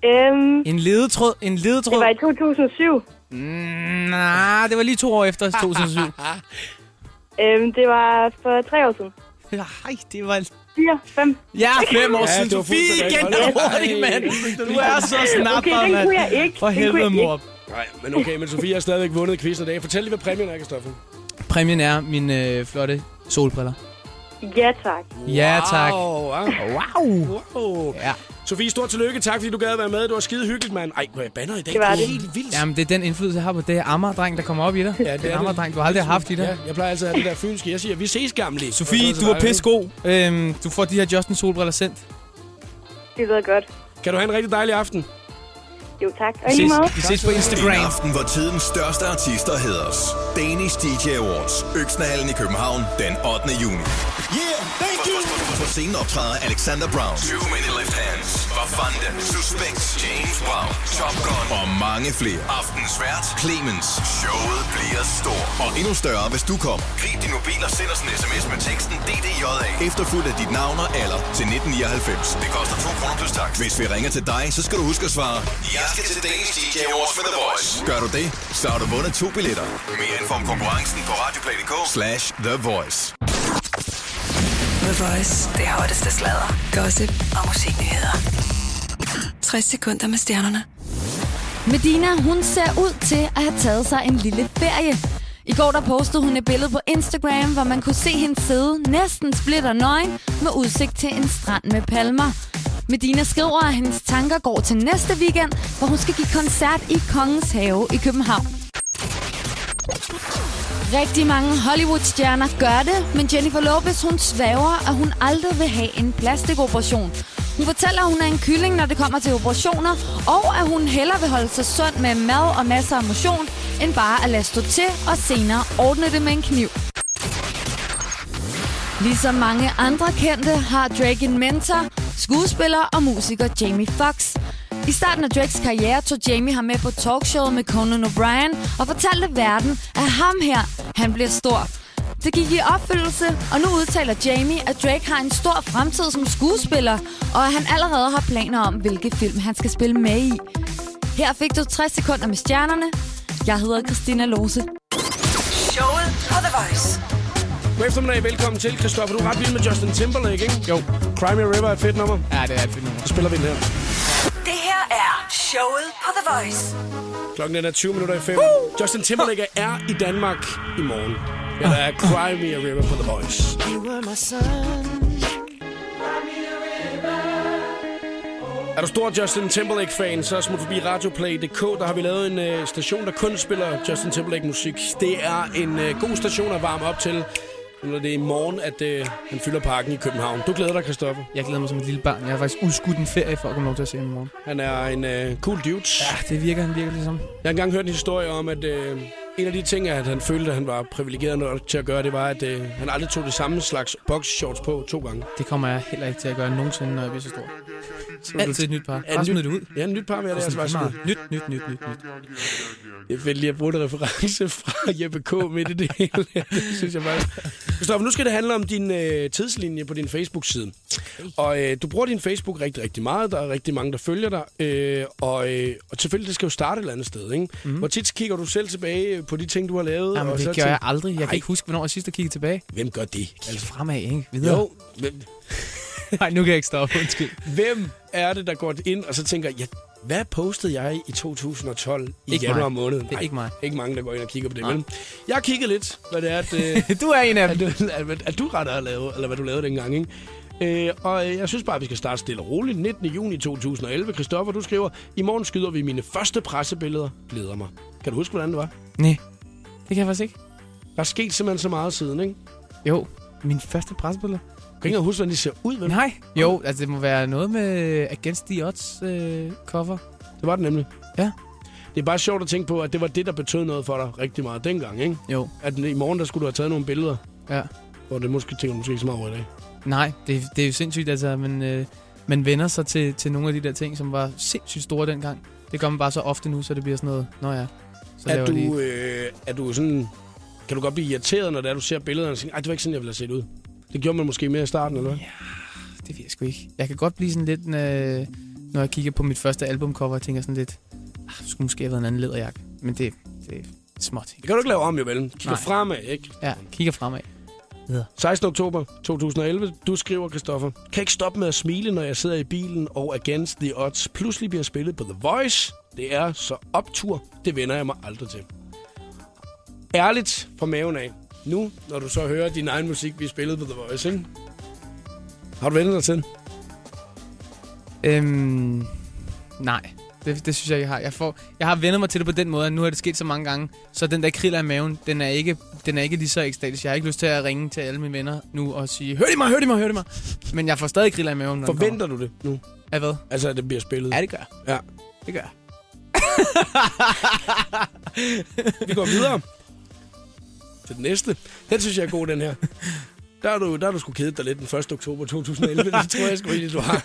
Øhm,
En ledetråd, en
det
ledetråd.
var i 2007.
Mm, nej, det var lige to år efter 2007.
Øhm, det var for tre år siden.
Nej, det var...
Fire, fem.
Ja, fem år
Ja,
ja, siden.
det var
Sofie
fuldstændig
igen,
rigtigt.
du er hurtig,
Ej,
mand.
fuldstændig
Du er
rigtigt.
så snapper,
Okay, den
mand.
kunne jeg ikke.
For
Den kunne
helvede,
jeg ikke.
mor.
Nej, men okay, men Sofie har stadigvæk vundet quizzen i dag. Fortæl lige, hvad præmien er, Kristoffer.
Præmien er mine øh, flotte solbriller.
Ja, tak.
Ja, tak.
Wow, ah.
Wow.
wow.
Ja.
Sofie, stort tillykke. Tak, fordi du gad at være med. Du var skide hyggeligt, mand. Ej, hvor jeg banner i dag.
Det var
er
det.
helt vildt.
Jamen, det er den indflydelse, jeg har på det ammerdreng, der kommer op i dig. Ja, det
det er
den
det.
ammerdreng, du har aldrig haft i dig.
Ja, jeg plejer altid at have det der fynske. Jeg siger, vi ses gamle.
Sofie,
Og så
du er
dig,
pissegod. Øhm, du får de her Justin Solbriller sendt.
Det lyder godt.
ikke? Kan du have en rigtig dejlig aften?
Jo, tak. Og i
Vi
lige
ses,
måde.
vi ses på
En
Instagram.
aften, hvor tidens største artister hedres. Danish DJ Awards. Øksnehallen i København den 8. juni. Yeah, thank you! På scenen optræder Alexander Brown. Two Minute Left Hands. Vafanda. Suspects. James Brown. Top Gun. Og mange flere. Aftens vært. Clemens. Showet bliver stort. Og endnu større, hvis du kommer. Grib din mobil og send os en sms med teksten DDJA. Efterfuldt af dit navn og alder til 1999. Det koster 2 kroner plus tak. Hvis vi ringer til dig, så skal du huske at svare. Jeg skal til Danish DJ Awards med The Voice. Gør du det, så har du vundet to billetter. Mere info om konkurrencen på radioplay.dk slash The Voice.
The The Voice. Det hotteste sladder, gossip og musiknyheder. 60 sekunder med stjernerne.
Medina, hun ser ud til at have taget sig en lille ferie. I går der postede hun et billede på Instagram, hvor man kunne se hende sidde næsten splitter nøgen med udsigt til en strand med palmer. Medina skriver, at hendes tanker går til næste weekend, hvor hun skal give koncert i Kongens Have i København. Rigtig mange Hollywood-stjerner gør det, men Jennifer Lopez hun svæver, at hun aldrig vil have en plastikoperation. Hun fortæller, at hun er en kylling, når det kommer til operationer, og at hun hellere vil holde sig sund med mad og masser af motion, end bare at lade stå til og senere ordne det med en kniv. Ligesom mange andre kendte har Drake en mentor, skuespiller og musiker Jamie Foxx. I starten af Drakes karriere tog Jamie ham med på talkshowet med Conan O'Brien og fortalte verden, at ham her, han bliver stor. Det gik i opfyldelse, og nu udtaler Jamie, at Drake har en stor fremtid som skuespiller, og at han allerede har planer om, hvilke film han skal spille med i. Her fik du 60 sekunder med stjernerne. Jeg hedder Christina Lose.
Showet på The Voice.
God eftermiddag, velkommen til, Christoffer. Du er ret vild med Justin Timberlake, ikke?
Jo.
Cry Me A River er et fedt nummer.
Ja, det er et fedt nummer.
Så spiller vi den her.
Det her er showet på The Voice.
Klokken den er 20 minutter i 5. Justin Timberlake er i Danmark i morgen. Ja, der er Cry Me A River på The Voice.
Ah. You were my sun.
Er du stor Justin Timberlake-fan, så smut forbi radioplay.dk. Der har vi lavet en øh, station, der kun spiller Justin Timberlake-musik. Det er en øh, god station at varme op til, når det er i morgen, at øh, han fylder parken i København. Du glæder dig, Christoffer.
Jeg glæder mig som et lille barn. Jeg har faktisk udskudt en ferie for at komme lov til at se ham i morgen.
Han er en øh, cool dude. Ja.
Ja, det virker han virker ligesom.
Jeg har engang hørt en historie om, at øh, en af de ting, at han følte, at han var privilegeret nok til at gøre, det var, at øh, han aldrig tog det samme slags boxshorts på to gange.
Det kommer jeg heller ikke til at gøre nogensinde, når jeg bliver så stor. Altid et nyt par.
Ja,
Bare smid det ud.
Ja, en nyt par med det. er Altså, bare smid.
Nyt, nyt, nyt, nyt, nyt.
Jeg vil lige have brugt en reference fra Jeppe K. midt i det hele. her. det synes jeg faktisk. Christoffer, nu skal det handle om din øh, tidslinje på din Facebook-side. Og øh, du bruger din Facebook rigtig, rigtig meget. Der er rigtig mange, der følger dig. Øh, og, øh, og selvfølgelig, det skal jo starte et eller andet sted. Ikke? Mm. Hvor tit kigger du selv tilbage på de ting, du har lavet?
Mhm. Jamen,
og
det gør jeg aldrig. Jeg kan ikke huske, hvornår jeg sidst har kigget tilbage.
Hvem gør det?
Altså fremad, ikke? Videre.
Jo, hvem,
Nej, nu kan jeg ikke stoppe. Undskyld.
hvem er det, der går ind og så tænker, ja, hvad postede jeg i 2012 i
Ikke
januar
mig.
måned?
Det er ikke mig.
Ikke mange, der går ind og kigger på det. Men jeg har kigget lidt, hvad det er, at, øh,
Du er en af
at,
dem.
du- at, at, at du rettere lavede, eller hvad du lavede dengang, ikke? Øh, og øh, jeg synes bare, at vi skal starte stille og roligt. 19. juni 2011. Christoffer, du skriver, i morgen skyder vi mine første pressebilleder. Glæder mig. Kan du huske, hvordan det var?
Nej, det kan jeg faktisk ikke.
Der er sket simpelthen så meget siden, ikke? Du
Jo, min første presbillede.
kan ikke engang huske, hvordan de ser ud, vel?
Nej. Jo, altså det må være noget med Against the Odds øh, cover.
Det var det nemlig.
Ja.
Det er bare sjovt at tænke på, at det var det, der betød noget for dig rigtig meget dengang, ikke?
Jo,
At i morgen, der skulle du have taget nogle billeder,
ja.
hvor det måske tænker du måske ikke så meget over i dag.
Nej, det, det er jo sindssygt, altså, men øh, man vender sig til, til nogle af de der ting, som var sindssygt store dengang. Det gør man bare så ofte nu, så det bliver sådan noget, nå ja, så
Er
laver
du,
de...
øh, er du sådan... Kan du godt blive irriteret, når det er, du ser billederne og tænker, ej, det var ikke sådan, jeg ville have set ud? Det gjorde man måske mere i starten, eller hvad?
Det ved jeg sgu ikke. Jeg kan godt blive sådan lidt, øh, når jeg kigger på mit første albumcover, og tænker sådan lidt, ah, det skulle måske have været en anden læderjakke. Men det, det er små ting.
Det kan du ikke lave om, jo vel? Kigger
Nej.
fremad, ikke?
Ja, kigger fremad.
16. oktober 2011, du skriver, Christoffer, kan ikke stoppe med at smile, når jeg sidder i bilen, og Against the Odds pludselig bliver spillet på The Voice. Det er så optur, det vender jeg mig aldrig til. Ærligt fra maven af, nu, når du så hører din egen musik blive spillet på The Voice, ikke? Har du vendt dig til?
Øhm, nej, det, det synes jeg ikke, jeg har. Jeg, får, jeg har vendet mig til det på den måde, at nu er det sket så mange gange, så den der kriller i maven, den er ikke, den er ikke lige så ekstatisk. Jeg har ikke lyst til at ringe til alle mine venner nu og sige, hør de mig, hør de mig, hør de mig. Men jeg får stadig kriller i maven, når den
Forventer du det nu?
kommer. Af hvad?
Altså, at det bliver spillet?
Ja, det gør jeg.
Ja.
Det gør jeg.
Vi går videre til den næste. Den synes jeg er god, den her. Der er du, der er du sgu kedet dig lidt den 1. oktober 2011. Det tror jeg sgu egentlig, du har.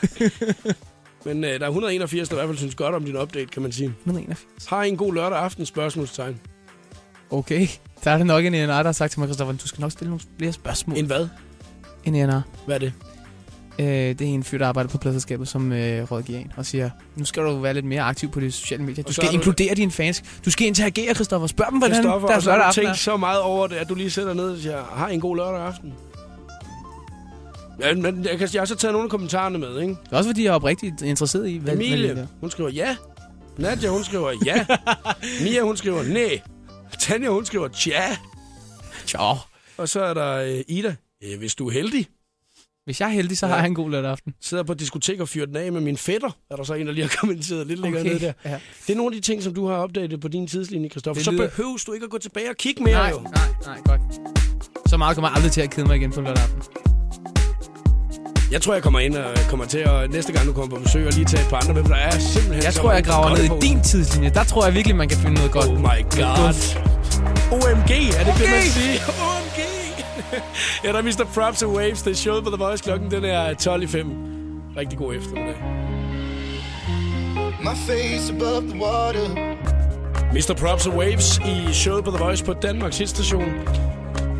Men øh, der er 181, der i hvert fald synes godt om din update, kan man sige.
181.
Har I en god lørdag aften? Spørgsmålstegn.
Okay. Der er det nok en ENR, der har sagt til mig, Christoffer, du skal nok stille nogle flere spørgsmål.
En
En,
hvad?
en ENR.
Hvad er det?
Øh, det er en fyr, der arbejder på pladselskabet, som øh, rådgiver en og siger, nu skal du være lidt mere aktiv på de sociale medier. Du
så
skal
er du-
inkludere dine fans. Du skal interagere, Christoffer. Spørg dem, hvordan
Christoffer, og
deres
så har
lørdag
du
aften er.
tænkt så meget over det, at du lige sætter ned og siger, har I en god lørdag aften? Ja, men jeg, kan, jeg har så taget nogle af kommentarerne med, ikke?
Det er også fordi, jeg er oprigtigt interesseret i, hvad, hvad det
Emilie,
er.
hun skriver ja. Nadia, hun skriver ja. Mia, hun skriver nej. Tanja, hun skriver tja.
Tja,
Og så er der øh, Ida. Øh, hvis du er heldig,
hvis jeg er heldig, så har jeg en god lørdag aften.
sidder på diskotek og fyrer den af med min fætter. Er der så en, der lige har kommenteret lidt længere
Okay,
ned der.
ja.
Det er nogle af de ting, som du har opdaget på din tidslinje, Kristoffer.
Det
Så
lyder-
behøves du ikke at gå tilbage og kigge mere,
Nej,
jo.
nej, nej, godt. Så meget kommer jeg aldrig til at kede mig igen på en lørdag aften.
Jeg tror, jeg kommer ind og kommer til at næste gang, du kommer på besøg, og lige tage et par andre med, for der er simpelthen
Jeg
så
tror, jeg
mange
graver
godt
ned
på.
i din tidslinje. Der tror jeg virkelig, man kan finde noget godt.
Oh my god. OMG, er det ikke det, man
OMG?
siger? OMG! ja, der er Mr. Props and Waves. Det er showet på The Voice. Klokken den er 12 i 5. Rigtig god eftermiddag.
My face above the water.
Mr. Props and Waves i showet på The Voice på Danmarks hitstation.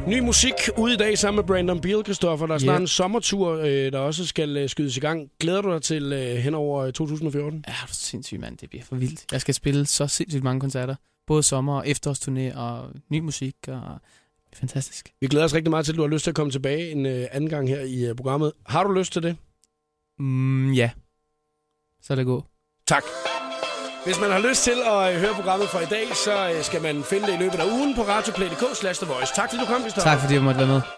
Ny musik ude i dag sammen med Brandon Beal, Christoffer. Der er snart
Yeah.
en sommertur, øh, der også skal øh, skydes i gang. Glæder du dig til øh, henover øh, 2014?
Ja, du er sindssyg, mand. Det bliver for vildt. Jeg skal spille så sindssygt mange koncerter. Både sommer- og efterårsturné og ny musik. Og... Det er fantastisk.
Vi glæder os rigtig meget til, at du har lyst til at komme tilbage en øh, anden gang her i øh, programmet. Har du lyst til det?
Mm, ja. Så er det gå.
Tak. Hvis man har lyst til at øh, høre programmet fra i dag, så øh, skal man finde det i løbet af ugen på radioplay.dk slash The Voice. Tak fordi du kom, Christoffer.
Tak fordi jeg måtte være med.